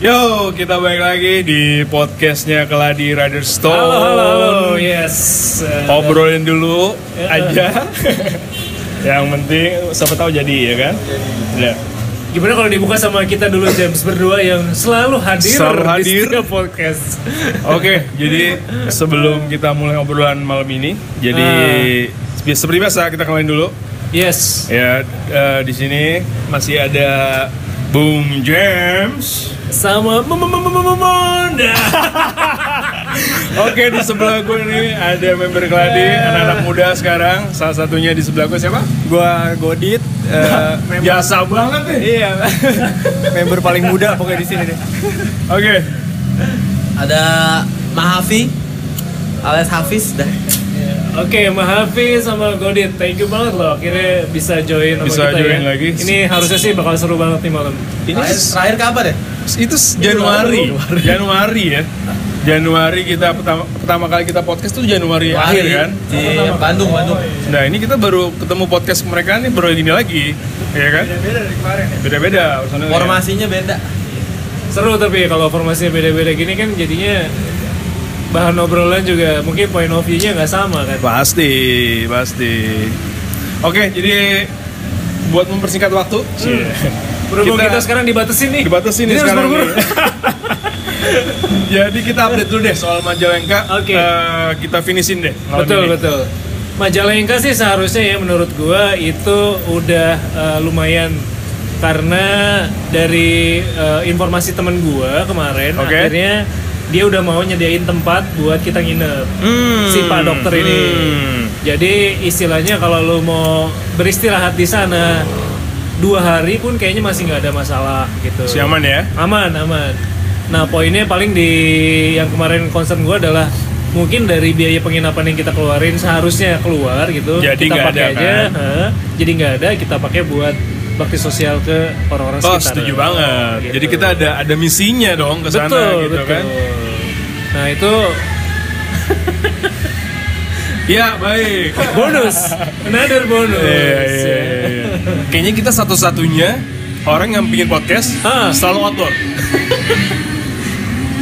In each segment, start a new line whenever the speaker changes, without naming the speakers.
Yo, kita balik lagi di podcastnya Keladi Rider Stone. Iya.
Halo, halo, Iya. halo, yes. Eh,
Obrolin dulu aja. Yang penting siapa tahu jadi ya kan? Ya.
Gimana kalau dibuka sama kita dulu James berdua yang selalu hadir,
Selalu hadir.
di setiap podcast.
Oke, jadi sebelum kita mulai obrolan malam ini, jadi
Ah.
sepi- seperti biasa kita kenalin dulu.
Yes.
Ya, eh, di sini masih ada Boom James.
Sama Monda.
Oke, di sebelah gue ini ada member Keladi,
Iya.
anak-anak muda sekarang. Salah satunya di sebelah gue siapa?
gua Godit eh, member
Biasa banget nih.
iya member paling muda pokoknya di sini deh
Oke.
ada Mahafi alias Hafiz dah
Oke, Mahafi sama Godit, thank you banget loh akhirnya bisa join sama
Bisa
kita
join
ya.
lagi.
Ini harusnya sih bakal seru banget nih malam.
Ini
terakhir, terakhir kapan ya
itu s-
Iya,
Januari.
Januari.
Januari ya. Januari kita pertama, pertama kali kita podcast tuh Januari akhir kan.
di
Iya.
Bandung Bandung
Nah, ini kita baru ketemu podcast mereka nih baru gini lagi. Ya kan? Beda-beda dari
ya.
kemarin. Beda-beda ya. urusannya.
formasinya beda
Seru tapi kalau formasinya beda-beda gini kan jadinya bahan obrolan juga mungkin point of view-nya nggak sama kan.
Pasti, pasti. Oke, jadi buat mempersingkat waktu,
Iya. Berhubung
Kita-
kita, sekarang dibatasin nih.
dibatasin nih
Jadi harus
sekarang
buru-buru.
nih. Jadi kita update dulu deh soal Majalengka.
Oke.
Eh, kita finishin deh. malam
betul
ini.
betul Majalengka sih seharusnya ya menurut gua itu udah eh, lumayan karena dari eh, informasi temen gua kemarin
Oke.
akhirnya dia udah mau nyediain tempat buat kita nginep
Hmm,
si pak dokter ini
hmm.
jadi istilahnya kalau lu mau beristirahat di sana dua hari pun kayaknya masih nggak ada masalah gitu
Masih aman ya?
aman aman nah poinnya paling di yang kemarin concern gue adalah mungkin dari biaya penginapan yang kita keluarin seharusnya keluar gitu
Jadi
kita
nggak
pakai
ada,
aja
kan?
heeh. jadi nggak ada kita pakai buat bakti sosial ke orang-orang
Oh,
sekitar
setuju banget.
Gitu.
Jadi kita ada ada misinya dong ke sana
betul
gitu
betul
kan.
nah itu
Iya, baik.
bonus another bonus
Iya, iya, iya, iya. Kayaknya kita satu-satunya orang yang bikin podcast
Ah.
selalu outdoor.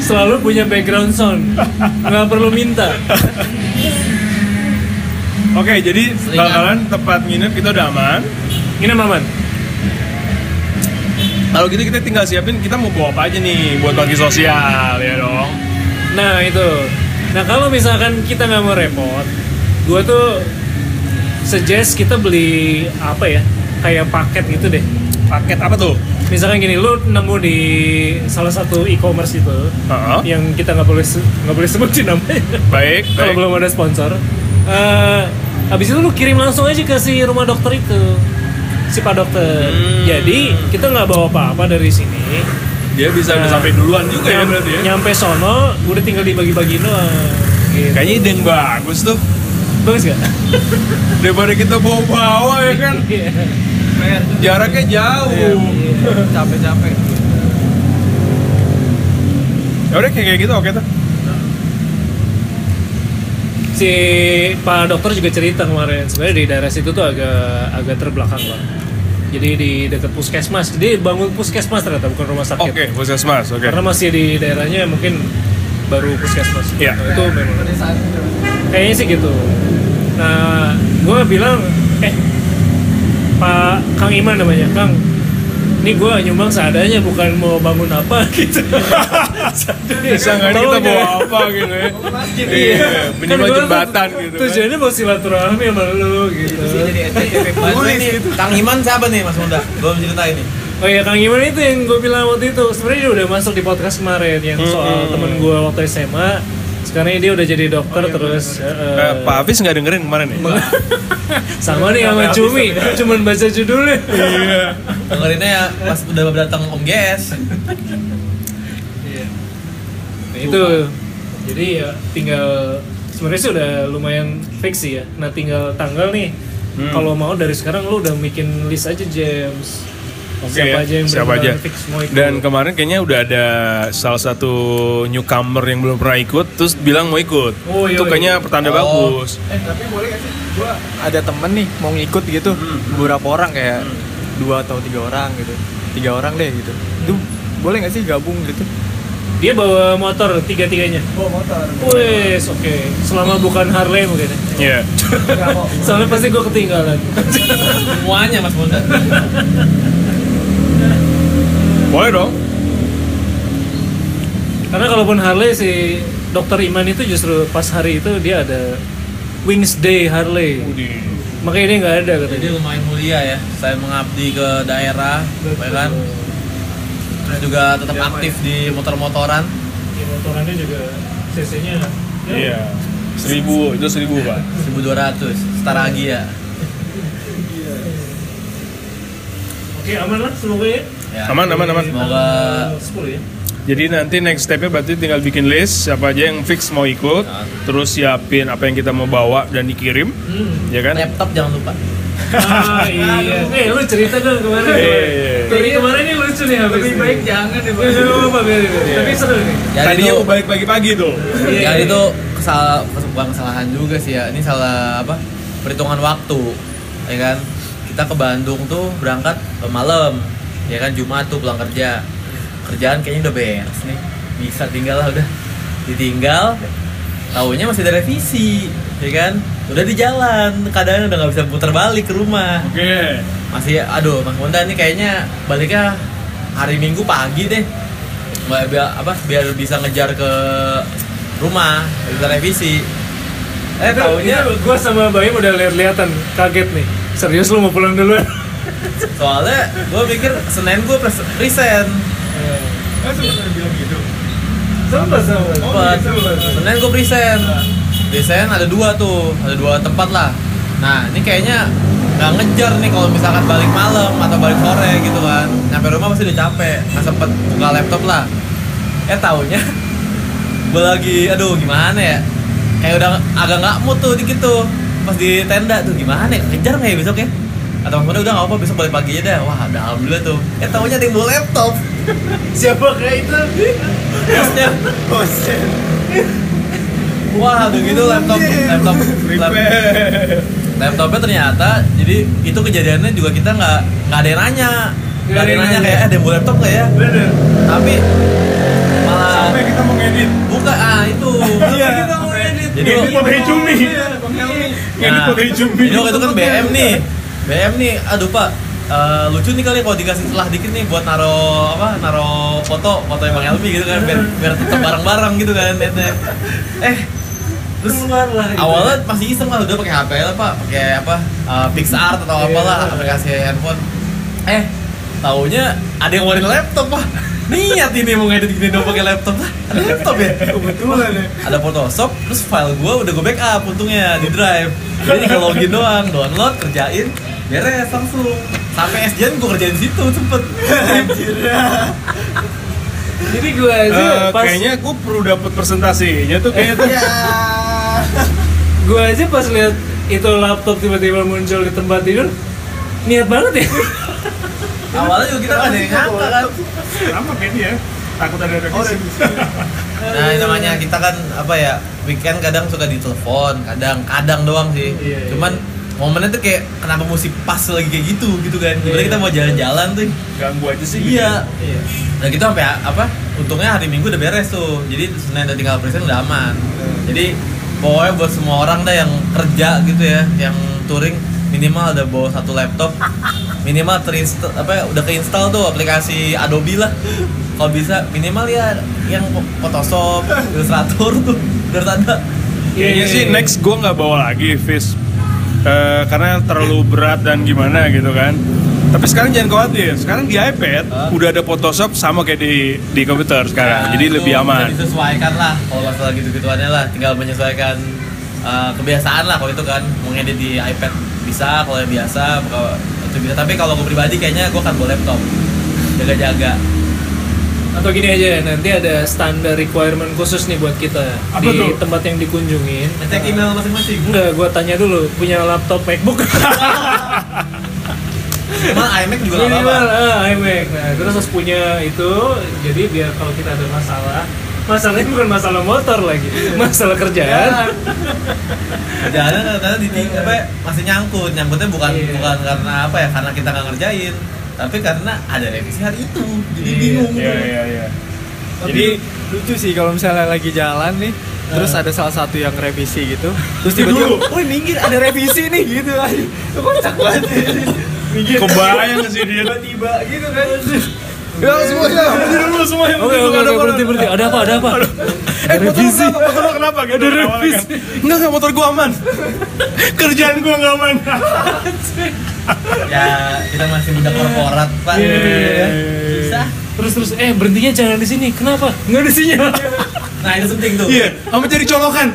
selalu punya background sound nggak perlu minta
Oke, jadi bakalan tempat nginep kita udah aman.
ini maman
Kalau gitu kita tinggal siapin kita mau bawa apa aja nih buat bagi sosial ya dong.
Nah itu. Nah kalau misalkan kita nggak mau repot, gua tuh suggest kita beli apa ya? Kayak paket gitu deh.
Paket apa tuh?
Misalkan gini, lu nemu di salah satu e-commerce itu
Heeh.
yang kita nggak boleh se- nggak boleh sebutin namanya
Baik,
kalau
baik.
belum ada sponsor. Eh habis itu lu kirim langsung aja ke si rumah dokter itu, si pak dokter.
Hmm.
Jadi kita nggak bawa apa-apa dari sini.
Dia bisa
Nah.
udah sampai duluan juga ya
Nyam-
berarti ya.
Nyampe sono, udah tinggal dibagi-bagi doang. Gitu.
Kayaknya ide yang bagus tuh.
bagus gak?
Daripada kita bawa-bawa ya kan.
Iya.
Jaraknya jauh.
capek-capek
Ya udah kayak kayak gitu oke tuh.
si Pak Dokter juga cerita kemarin sebenarnya di daerah situ tuh agak agak terbelakang lah. Jadi di dekat puskesmas, jadi bangun puskesmas ternyata bukan rumah sakit.
Oke, puskesmas, oke.
Karena masih di daerahnya mungkin baru puskesmas.
Iya.
Nah, itu memang. Kayaknya sih gitu. Nah, gue bilang, eh, Pak Kang Iman namanya, Kang. Ini gue nyumbang seadanya, bukan mau bangun apa gitu.
Bisa nggak nih kita
Tolong
bawa
jangan-
apa gitu ya? Iya, minimal
Kan gua
jembatan
tuh
gitu. kan.
Tujuannya mau silaturahmi sama lu gitu.
Tulis gitu. Kang Iman siapa nih Mas Munda? Belum ceritain nih
Oh iya Kang Iman itu yang gue bilang waktu itu sebenarnya dia udah masuk di podcast kemarin yang soal temen gue waktu SMA. Sekarang dia udah jadi dokter terus
Oh,
eh,
iya, Eh, Pak Hafiz nggak dengerin kemarin ya?
sama nih sama Cumi, cuman baca judulnya.
Iya.
Dengerinnya ya pas udah datang Om GS
Nah, itu. Jadi ya tinggal sebenarnya sih udah lumayan fix sih ya. Nah tinggal tanggal nih.
Hmm.
Kalau mau dari sekarang lu udah bikin list aja James.
Oke ya,
siapa aja yang
siapa aja.
benar-benar fix mau ikut.
Dan kemarin kayaknya udah ada salah satu newcomer yang belum pernah ikut, terus bilang mau ikut.
Oh, iya,
itu
iya.
kayaknya pertanda
Oh.
bagus.
eh tapi boleh gak sih gua Hmm. ada temen nih mau ngikut Hmm. gitu beberapa orang kayak dua atau tiga orang gitu tiga orang deh gitu itu boleh nggak sih gabung gitu
Dia bawa motor tiga-tiganya.
Oh, motor.
Wes, oke. Selama bukan Harley mungkin.
Iya.
ya. Soalnya pasti gue ketinggalan.
Semuanya Mas Bunda.
Boleh dong.
Karena kalaupun Harley si Dokter Iman itu justru pas hari itu dia ada Wings Day Harley. Makanya dia nggak ada
Jadi
katanya.
lumayan mulia ya. Saya mengabdi ke daerah, ya kan? Terus juga tetap
Iya, Pak.
aktif di motor-motoran.
Ya, motorannya juga CC-nya Ya,
Iya. Seribu, itu seribu pak.
1200 setara lagi ya.
Oke, aman lah semoga ya.
Ya.
Aman, aman, aman.
Semoga
10 ya.
Jadi nanti next stepnya berarti tinggal bikin list siapa aja yang fix mau ikut,
Nah.
terus siapin apa yang kita mau bawa dan dikirim,
Hmm.
ya kan?
laptop jangan lupa.
Ah, iya. Eh, lu cerita dong kemarin.
Iya, iya, iya.
Dari kemarin ini lucu nih habis. Lebih baik jangan ya, Tapi seru nih.
Jadi
Tadinya
itu,
mau balik pagi-pagi tuh.
Iya,
jadi
iya.
itu kesal, kes- bukan kesalahan juga sih ya. Ini salah apa? Perhitungan waktu, ya kan? Kita ke Bandung tuh berangkat ke malam, ya kan? Jumat tuh pulang kerja. Kerjaan kayaknya udah beres nih. Bisa tinggal lah udah. Ditinggal, taunya masih ada revisi, ya kan? Udah di jalan, keadaan udah nggak bisa putar balik ke rumah.
Oke.
masih aduh Mas Bondan nih kayaknya baliknya hari Minggu pagi deh biar, biar- apa biar bisa ngejar ke rumah biar bisa revisi eh
Taunya
tahunya
gue sama Baim udah lihat-lihatan kaget nih. Serius lu mau pulang duluan?
soalnya gue mikir Senin gue resign
Iya. Sama sama.
Tempat. Senin gue present. Desain ada dua tuh, ada dua tempat lah. Nah ini kayaknya nggak ngejar nih kalau misalkan balik malam atau balik sore gitu kan. Nyampe rumah pasti udah capek, nggak sempet buka laptop lah. Eh taunya gue lagi, aduh gimana ya? Kayak udah agak nggak mood tuh dikit tuh pas di tenda tuh gimana ya? Kejar nggak ya besok ya? Atau gimana udah nggak apa besok balik pagi aja deh. Wah udah alhamdulillah tuh. Eh taunya ada yang bawa laptop.
Siapa kayak itu?
Terusnya Wah, begitu laptop, laptop, laptop, laptopnya ternyata jadi itu kejadiannya juga kita nggak nggak ada yang nanya, nggak ada yang nanya kayak eh ada yang bawa laptop nggak ya?
Bener.
Tapi malah
kita mau ngedit
buka ah itu.
Iya.
Kita mau edit. Jadi Nah,
Ngedit foto Jumi.
Iya,
Bang Helmi
Ngedit foto Jumi.
jadi waktu itu kan BM nih, BM nih, aduh pak. eh, lucu nih kali kalau dikasih celah dikit nih buat naro apa naro foto foto emang Elmi gitu kan biar biar tetap bareng-bareng gitu kan netnya. eh terus awalnya masih iseng lah udah pakai HP lah pak pakai apa eh, PixArt atau
Iya,
apalah aplikasi handphone eh taunya ada yang warin laptop pak niat ini mau ngedit gini dong pakai laptop lah ada laptop ya
kebetulan ya
ada Photoshop terus file gue udah gue backup untungnya di drive jadi tinggal login doang download kerjain beres langsung sampai SDN gue kerjain di situ cepet
Jadi gue
Eh,
aja pas
kayaknya aku perlu dapat presentasinya tuh kayaknya tuh.
gue aja pas lihat itu laptop tiba-tiba muncul di tempat tidur niat banget ya.
awalnya juga kita nggak ada yang nyangka kan
Sama kayaknya. ya. Takut ada revisi.
nah ini namanya
Iya. gitu.
kita kan apa ya weekend kadang suka ditelepon kadang kadang doang sih
Iya, iya.
cuman momennya tuh kayak kenapa musik pas lagi kayak gitu gitu kan Sebenarnya
Iya.
kita mau jalan-jalan tuh
Ganggu aja sih. gitu.
iya
Iya.
Nah gitu sampai apa? Untungnya hari Minggu udah beres tuh. Jadi Senin dan tinggal presiden udah aman. Jadi pokoknya buat semua orang dah yang kerja gitu ya, yang touring minimal ada bawa satu laptop. Minimal terinstall apa ya, udah keinstall tuh aplikasi Adobe lah. Kalau bisa minimal ya yang Photoshop, Illustrator tuh udah ada.
Kayaknya sih next gue nggak bawa lagi Fis Eh, Karena terlalu berat dan gimana gitu kan Tapi sekarang jangan khawatir Sekarang di iPad
Hah?
udah ada Photoshop sama kayak di, di komputer sekarang
Nah,
Jadi
itu
lebih
udah
aman
Disesuaikan lah kalau masalah gitu-gituannya lah, tinggal menyesuaikan uh, kebiasaan lah kalau itu kan mau ngedit di iPad bisa, kalau yang biasa kalau itu bisa. Tapi kalau gue pribadi kayaknya gue akan bawa laptop. Jaga-jaga.
Atau gini aja ya, nanti ada standar requirement khusus nih buat kita
Apa
di
tuh?
tempat yang dikunjungin.
Ngecek email masing-masing.
Enggak, gue tanya dulu punya laptop MacBook.
Cuma iMac juga nggak
Minimal
apa-apa.
ah, iMac. Nah, terus harus punya itu. Jadi biar kalau kita ada masalah, masalahnya bukan masalah motor lagi, masalah
Ya,
kerjaan.
Jalan ternyata di apa ya, masih nyangkut. Nyangkutnya bukan
Iya.
bukan karena apa ya? Karena kita nggak ngerjain. tapi karena ada revisi hari itu jadi bingung
Iya,
gitu.
iya, iya.
Tapi
Jadi
lucu sih kalau misalnya lagi jalan nih terus ada salah satu yang Hmm. revisi gitu terus
Minggir
tiba-tiba
dulu.
woi minggir ada revisi nih gitu kan kocak banget minggir
kebayang sih dia.
tiba-tiba gitu kan ya semuanya
Berhenti dulu semua yang
Oke, oke, oke, berhenti, berhenti. Ada apa, ada apa?
Eh, motor lu kenapa? Motor lu kenapa? Gitu,
Ada
awalnya
revisi.
kan. Enggak, enggak, motor gua aman. Kerjaan gua enggak aman.
ya kita masih muda korporat pak
Iya,
gitu
iya,
ya.
iya.
susah
Terus, terus, eh berhentinya jangan di sini. Kenapa? Nggak di sini.
nah itu penting tuh
Iya, sama jadi colokan.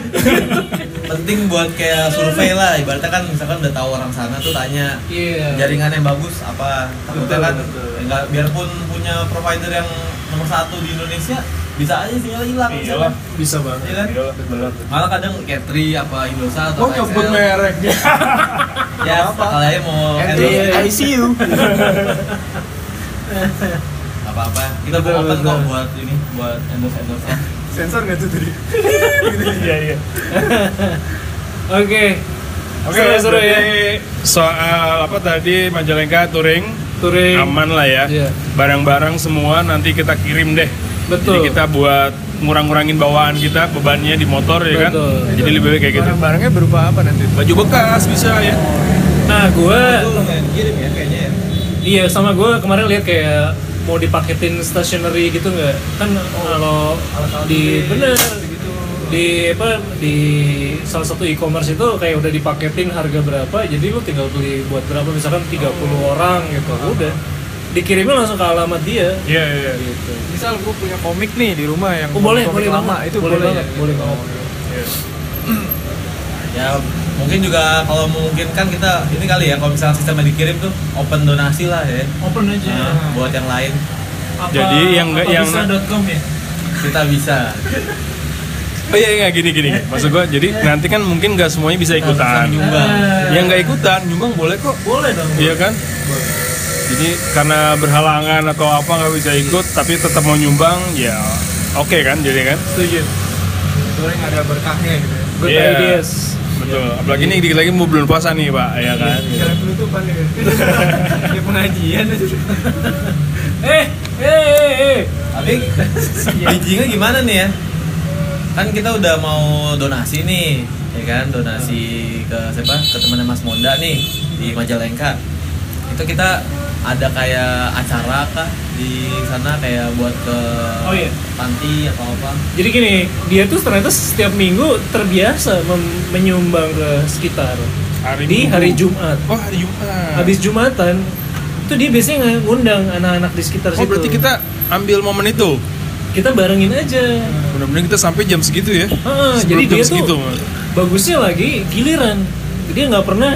penting buat kayak survei lah ibaratnya kan misalkan udah tahu orang sana tuh tanya
Iya.
jaringan yang bagus apa takutnya
Betul,
kan
betul.
enggak biarpun punya provider yang nomor satu di Indonesia bisa aja sinyal hilang
Iyalah.
Bisa banget.
Iya kan? malah kadang kayak Tri apa Indosat
Oh,
atau XL.
mereknya
ya kalau aja mau endorse
I see you
nggak apa-apa kita
Betul,
open
betul.
kok buat ini buat endorse endorse
sensor nggak tuh tadi
Iya, iya.
Oke.
Oke,
Seru, seru
berarti
ya.
Soal apa tadi Majalengka touring
Touring.
aman lah ya.
Iya.
Barang-barang semua nanti kita kirim deh.
Betul.
Jadi kita buat ngurang-ngurangin bawaan kita bebannya di motor ya kan.
Betul.
Jadi lebih baik kayak gitu.
barang-barangnya berupa apa nanti
Baju bekas bisa ya.
Nah, gua
itu yang kirim ya kayaknya ya
Iya, sama gue kemarin lihat kayak mau dipaketin stationery gitu nggak? Kan kalau di bener gitu. di apa di salah satu e-commerce itu kayak udah dipaketin harga berapa, jadi lu tinggal beli buat berapa misalkan 30 orang gitu, udah dikirimnya langsung ke alamat dia.
Iya, iya, iya.
Gitu.
misal gue punya komik nih di rumah yang
Oh, boleh,
komik
boleh
lama
banget.
itu
Boleh ya?
boleh ya?
banget, boleh banget.
Iya.
ya mungkin juga kalau memungkinkan kita ini kali ya kalau misalnya sistemnya dikirim tuh open donasi lah ya
Open aja.
Nah, buat yang lain
Jadi yang nggak- yang-
ya.
kita bisa
Oh iya, iya gini gini. gini. Maksud gua jadi nanti kan mungkin nggak semuanya bisa
Kita bisa
ikutan. Eh.
menyumbang.
Yang nggak ikutan nyumbang boleh kok.
Boleh dong.
Iya kan? Jadi karena berhalangan atau apa nggak bisa ikut, tapi tetap mau nyumbang, ya oke kan, jadi kan?
Setuju.
boleh ada berkahnya gitu ya
Good
Iya.
ideas.
Betul.
Iya.
Apalagi ini dikit lagi mau bulan puasa nih, Pak, ya kan?
Jalan penutupan ya ya pengajian
Eh, eh, eh, eh.
tapi bijinya gimana nih ya kan kita udah mau donasi nih ya kan donasi ke siapa ke temannya Mas Monda nih di Majalengka itu kita ada kayak acara kah di sana kayak buat ke
Oh, iya.
panti atau apa
Jadi gini, dia tuh ternyata setiap minggu terbiasa mem- menyumbang ke sekitar.
Hari
di
Minggu.
hari Jumat.
Oh, hari Jumat.
Habis Jumatan, itu dia biasanya ngundang anak-anak di sekitar
Oh,
situ.
berarti kita ambil momen itu.
kita barengin aja.
Mudah-mudahan kita sampai jam segitu ya.
Heeh,
Sebelum
Ah, jadi
jam
dia
segitu.
tuh bagusnya lagi giliran. Dia nggak pernah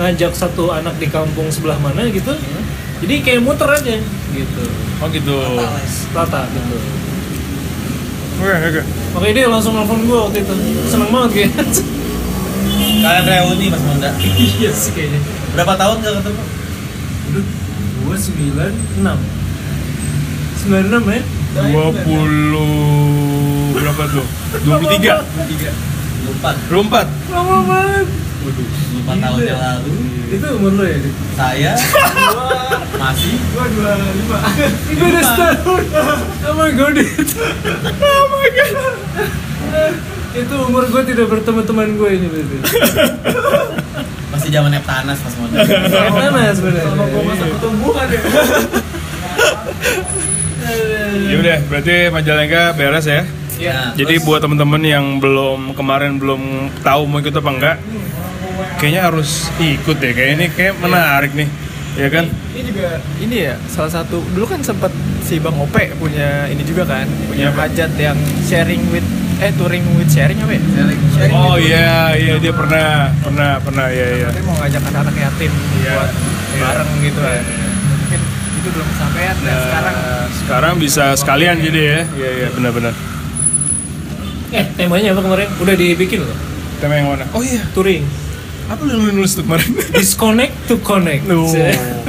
ngajak satu anak di kampung sebelah mana gitu. Jadi kayak muter aja gitu.
Oh gitu.
Rata gitu.
Oke, oke.
Makanya dia langsung nelfon gue waktu itu. Seneng banget kayak.
kalian reuni Mas Monda
iya sih kayaknya.
berapa tahun gak ketemu
Gue 96
eh?
96 ya?
20 berapa tuh? 23.
lupa
24.
Lama banget
lupa tahun yang lalu
Itu umur lo ya?
saya masih
gua dua lima
Gue udah setahun Oh my god Oh my god Itu umur gue tidak berteman-teman gue ini berarti
masih zaman Neptanas Mas Monda
Mana sebenarnya?
sama gua masa pertumbuhan ya
Ya udah, berarti Majalengka beres ya.
Iya.
Nah,
Jadi
terus-
buat temen-temen yang belum kemarin belum tahu mau ikut apa enggak, kayaknya harus ikut deh. Kayak ini kayak menarik nih, ya kan?
ini juga ini ya salah satu dulu kan sempet si bang Ope punya ini juga kan
Iya,
punya
Bang.
hajat yang sharing with eh touring with sharing apa ya sharing
Oh iya iya dia pernah pernah pernah ya ya.
Dia mau ngajak anak-anak yatim
Iya.
buat
Iya.
bareng gitu kan mungkin itu belum kesampaian nah,
Nah,
sekarang
sekarang bisa sekalian jadi ya. Iya iya benar-benar.
Eh temanya apa kemarin? Udah dibikin loh
Tema yang mana? Oh iya,
Touring
apa lu nulis tuh kemarin?
Disconnect to connect
Loh.
Iya.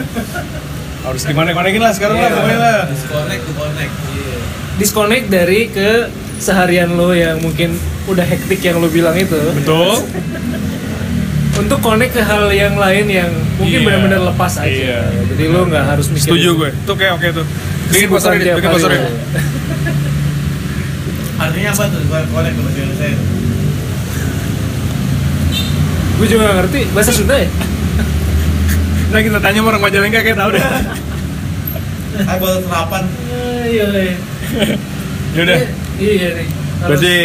harus gimana konekin lah sekarang lah pokoknya lah.
iya. disconnect to connect Iya.
Disconnect dari ke seharian lo yang mungkin udah hektik yang lo bilang itu
Betul.
untuk connect ke hal yang lain yang mungkin
Iya.
benar-benar lepas aja.
Iya.
Jadi lo nggak harus mikirin
Setuju gue. Tuh kayak oke tuh. Bikin
kesibukan
posternya,
tiap
bikin
hari.
posternya.
Artinya apa tuh? Bukan kolek tuh bahasa Indonesia itu.
Gue juga nggak ngerti bahasa Sunda ya.
Nah kita tanya sama orang Majalengka kayak tau deh.
Kan buat serapan.
Iya
Yaudah.
Iya nih. Harus-
Ya Berarti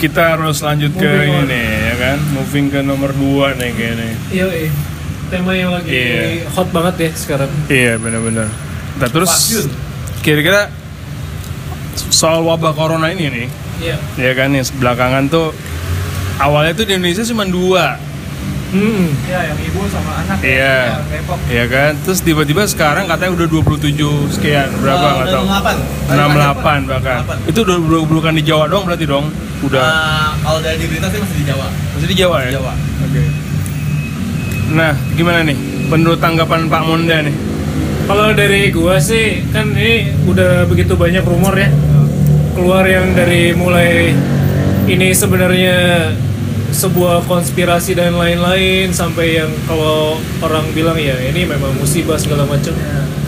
kita harus lanjut ke
Moving on.
ini ya kan, moving ke nomor 2 nih kayaknya.
Iya iya. Tema yang lagi
Iya.
hot banget ya sekarang.
Iya benar-benar. Nah terus kira-kira soal wabah corona ini nih,
Iya.
ya kan yang belakangan tuh awalnya tuh di Indonesia cuma dua,
Hmm.
ya yang ibu sama anak
Iya.
ya, repot
ya kan. Terus tiba-tiba sekarang katanya udah 27 sekian
Oh,
berapa nggak tahu. 68 bahkan. Itu udah bu- bukan di Jawa dong berarti dong. Udah
Eh, kalau dari di berita sih masih di Jawa.
masih Ah, di Jawa
Di
ya.
Jawa.
Nah gimana nih menurut tanggapan Pak Monda nih?
Kalau dari gua sih kan ini udah begitu banyak rumor ya keluar yang dari mulai ini sebenarnya sebuah konspirasi dan lain-lain sampai yang kalau orang bilang ya ini memang musibah segala macam.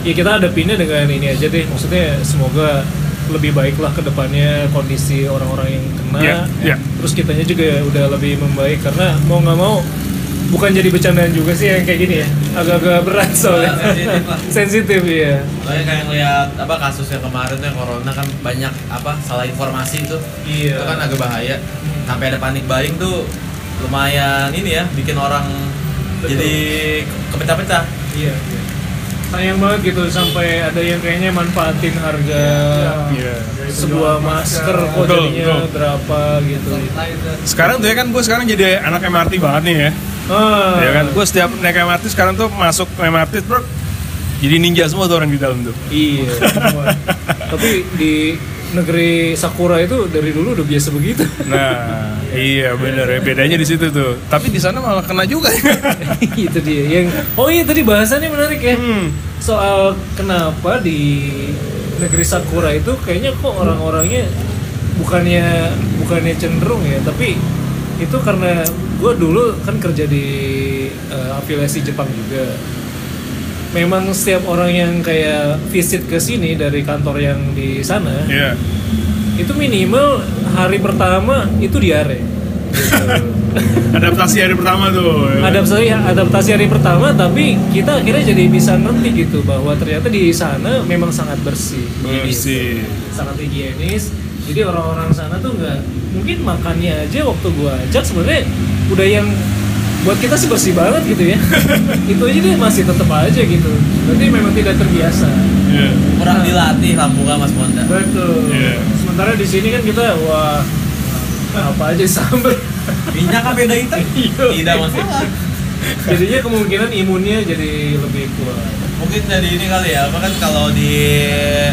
Ya kita hadapinnya dengan ini aja deh. Maksudnya semoga lebih baiklah ke depannya kondisi orang-orang yang kena.
Iya, iya.
Terus kitanya juga udah lebih membaik karena mau nggak mau bukan jadi bercandaan juga sih yang kayak gini ya. Agak-agak berat soalnya.
Sensitif lah.
sensitif ya
Soalnya kayak ngeliat apa kasusnya kemarin tuh yang corona kan banyak apa salah informasi itu.
Iya.
Itu kan agak bahaya. Sampai ada panik buying tuh lumayan ini ya bikin orang
Betul.
jadi kepecah-pecah.
iya sayang banget gitu sampai ada yang kayaknya manfaatin harga
Iya.
sebuah masker kok
Betul,
jadinya
betul. Iya
berapa gitu
Nah,
Sekarang tuh ya kan gue sekarang jadi anak MRT banget nih ya.
ah
Ya kan, gue setiap naik MRT sekarang tuh masuk MRT bro, jadi ninja semua tuh orang di dalam tuh.
iya semua. tapi di negeri sakura itu dari dulu udah biasa begitu
Nah, iya bener ya, bedanya di situ tuh. Tapi di sana malah kena juga.
itu dia yang oh iya tadi bahasannya menarik ya
Hmm.
soal kenapa di negeri sakura itu kayaknya kok orang-orangnya bukannya bukannya cenderung ya tapi itu karena gue dulu kan kerja di eh, afiliasi Jepang juga memang setiap orang yang kayak visit ke sini dari kantor yang di sana
Iya.
itu minimal hari pertama itu diare Gitu.
Adaptasi hari pertama tuh. ya kan?
adaptasi adaptasi hari pertama tapi kita akhirnya jadi bisa ngerti gitu bahwa ternyata di sana memang sangat bersih,
Hmm, Bersih.
Gitu. sangat higienis jadi orang-orang sana tuh nggak mungkin makannya aja waktu gua ajak sebenarnya udah yang buat kita sih bersih banget gitu ya itu aja deh masih tetap aja gitu berarti memang tidak terbiasa
Iya.
Kurang dilatih lampu Mas Ponda.
betul
Iya.
sementara di sini kan kita wah apa aja sambel
Minyak apa beda hitam? Iya. Tidak masalah.
jadinya kemungkinan imunnya jadi lebih kuat
Mungkin dari ini kali ya, apa kan kalau di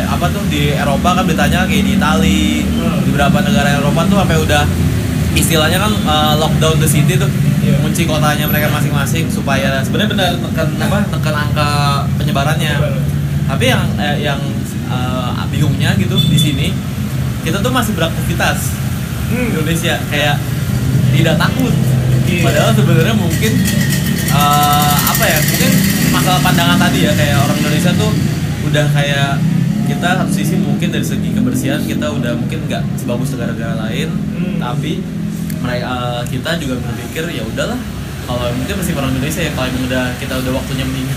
apa tuh di Eropa kan ditanya kayak di Itali,
Hmm.
di beberapa negara Eropa tuh sampai udah istilahnya kan uh, lockdown the city tuh
Iya.
kunci kotanya mereka masing-masing supaya sebenarnya benar tekan apa tekan angka penyebarannya. Tapi yang eh, yang uh, bingungnya gitu di sini kita tuh masih beraktivitas Hmm. Indonesia kayak tidak takut
Iya.
padahal sebenarnya mungkin eh, apa ya mungkin masalah pandangan tadi ya kayak orang Indonesia tuh udah kayak kita satu sisi mungkin dari segi kebersihan kita udah mungkin nggak sebagus negara-negara lain
Hmm.
tapi mereka eh, kita juga berpikir ya udahlah kalau mungkin masih orang Indonesia ya kalau emang udah kita udah waktunya meninggal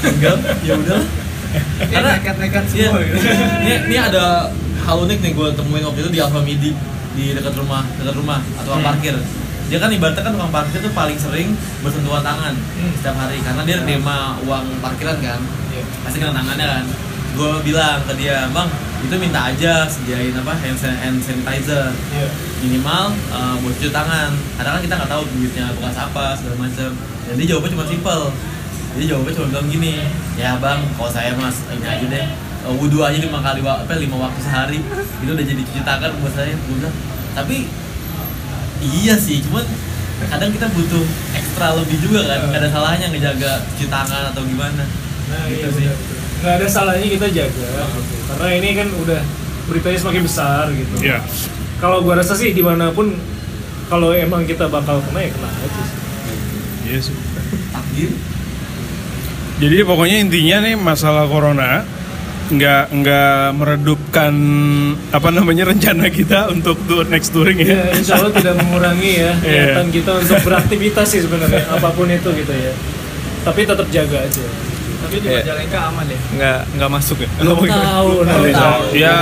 meninggal, ya udahlah
Karena
ya,
nekat-nekat
Iya.
semua gitu.
Ini, ini ada hal unik nih gue temuin waktu itu di Alfamidi di dekat rumah, dekat rumah atau
Hmm.
tukang parkir. Dia kan ibaratnya kan tukang parkir tuh paling sering bersentuhan tangan
Hmm.
setiap hari karena dia nerima uang parkiran kan.
Iya.
Pasti kena tangannya kan. Gue bilang ke dia, "Bang, itu minta aja sediain apa hand, san- hand sanitizer minimal eh, buat cuci tangan karena kan kita nggak tahu duitnya bekas apa segala macam jadi jawabnya cuma simpel jadi jawabnya cuma bilang gini ya bang kalau saya mas ini aja deh eh, wudhu aja lima kali wa- apa lima waktu sehari itu udah jadi cuci tangan buat saya Gua bilang, tapi iya sih cuman kadang kita butuh ekstra lebih juga kan nggak ada salahnya ngejaga cuci tangan atau gimana
Nah, iya,
Gitu sih.
benar. nggak ada salahnya kita jaga gitu. karena ini kan udah beritanya semakin besar gitu
Iya.
kalau gua rasa sih dimanapun kalau emang kita bakal kena ya kena aja sih.
Iya sih.
takdir
Jadi pokoknya intinya nih masalah corona nggak nggak meredupkan apa namanya rencana kita untuk tour next touring
Ya,
ya.
insya Allah tidak mengurangi ya
Iya.
niatan kita untuk beraktivitas sih sebenarnya apapun itu gitu ya. Tapi tetap jaga aja.
Tapi
Iya.
di Majalengka aman ya? Nggak, nggak masuk ya?
Belum tahu,
Nggak
belum
bisa.
tahu.
Ya,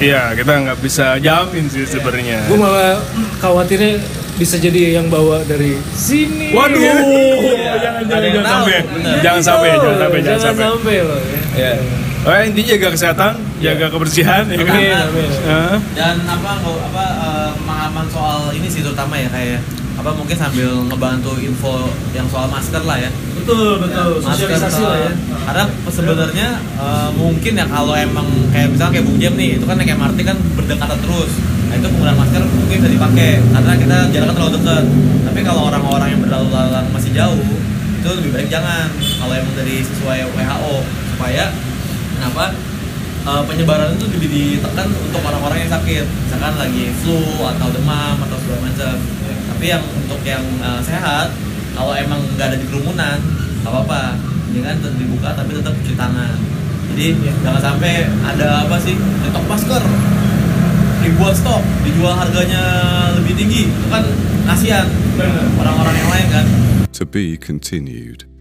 iya kita nggak bisa jamin sih sebenarnya.
Gue malah khawatirnya bisa jadi yang bawa dari sini. Iya.
Waduh,
jangan
jangan
Iya. Ada
jangan
yang
jangan
tahu,
sampai,
bener.
jangan sampai,
loh,
jangan sampai, jangan sampai.
loh. ya.
Iya.
Oh, intinya jaga kesehatan, jaga kebersihan, ya kan?
Amin, amin.
Hah?
dan apa nggak- apa eh, pemahaman soal ini sih terutama ya kayak apa mungkin sambil ngebantu info yang soal masker lah ya
betul betul
masker
sosialisasi
ke-
lah ya
karena sebenarnya eh, mungkin ya kalau emang kayak misalnya kayak Bung Jem nih itu kan naik MRT kan berdekatan terus nah itu penggunaan masker mungkin bisa dipakai karena kita jaraknya terlalu dekat tapi kalau orang-orang yang berlalu-lalang masih jauh itu lebih baik jangan kalau emang dari sesuai WHO supaya kenapa eh, penyebaran itu lebih ditekan untuk orang-orang yang sakit misalkan lagi flu atau demam atau segala macam tapi yang untuk yang eh, sehat kalau emang nggak ada di kerumunan nggak apa-apa jangan tetap dibuka tapi tetap cuci tangan jadi jangan sampai ada apa sih nyetok masker dibuat stok dijual harganya lebih tinggi itu kan kasihan orang-orang yang lain kan
To be continued.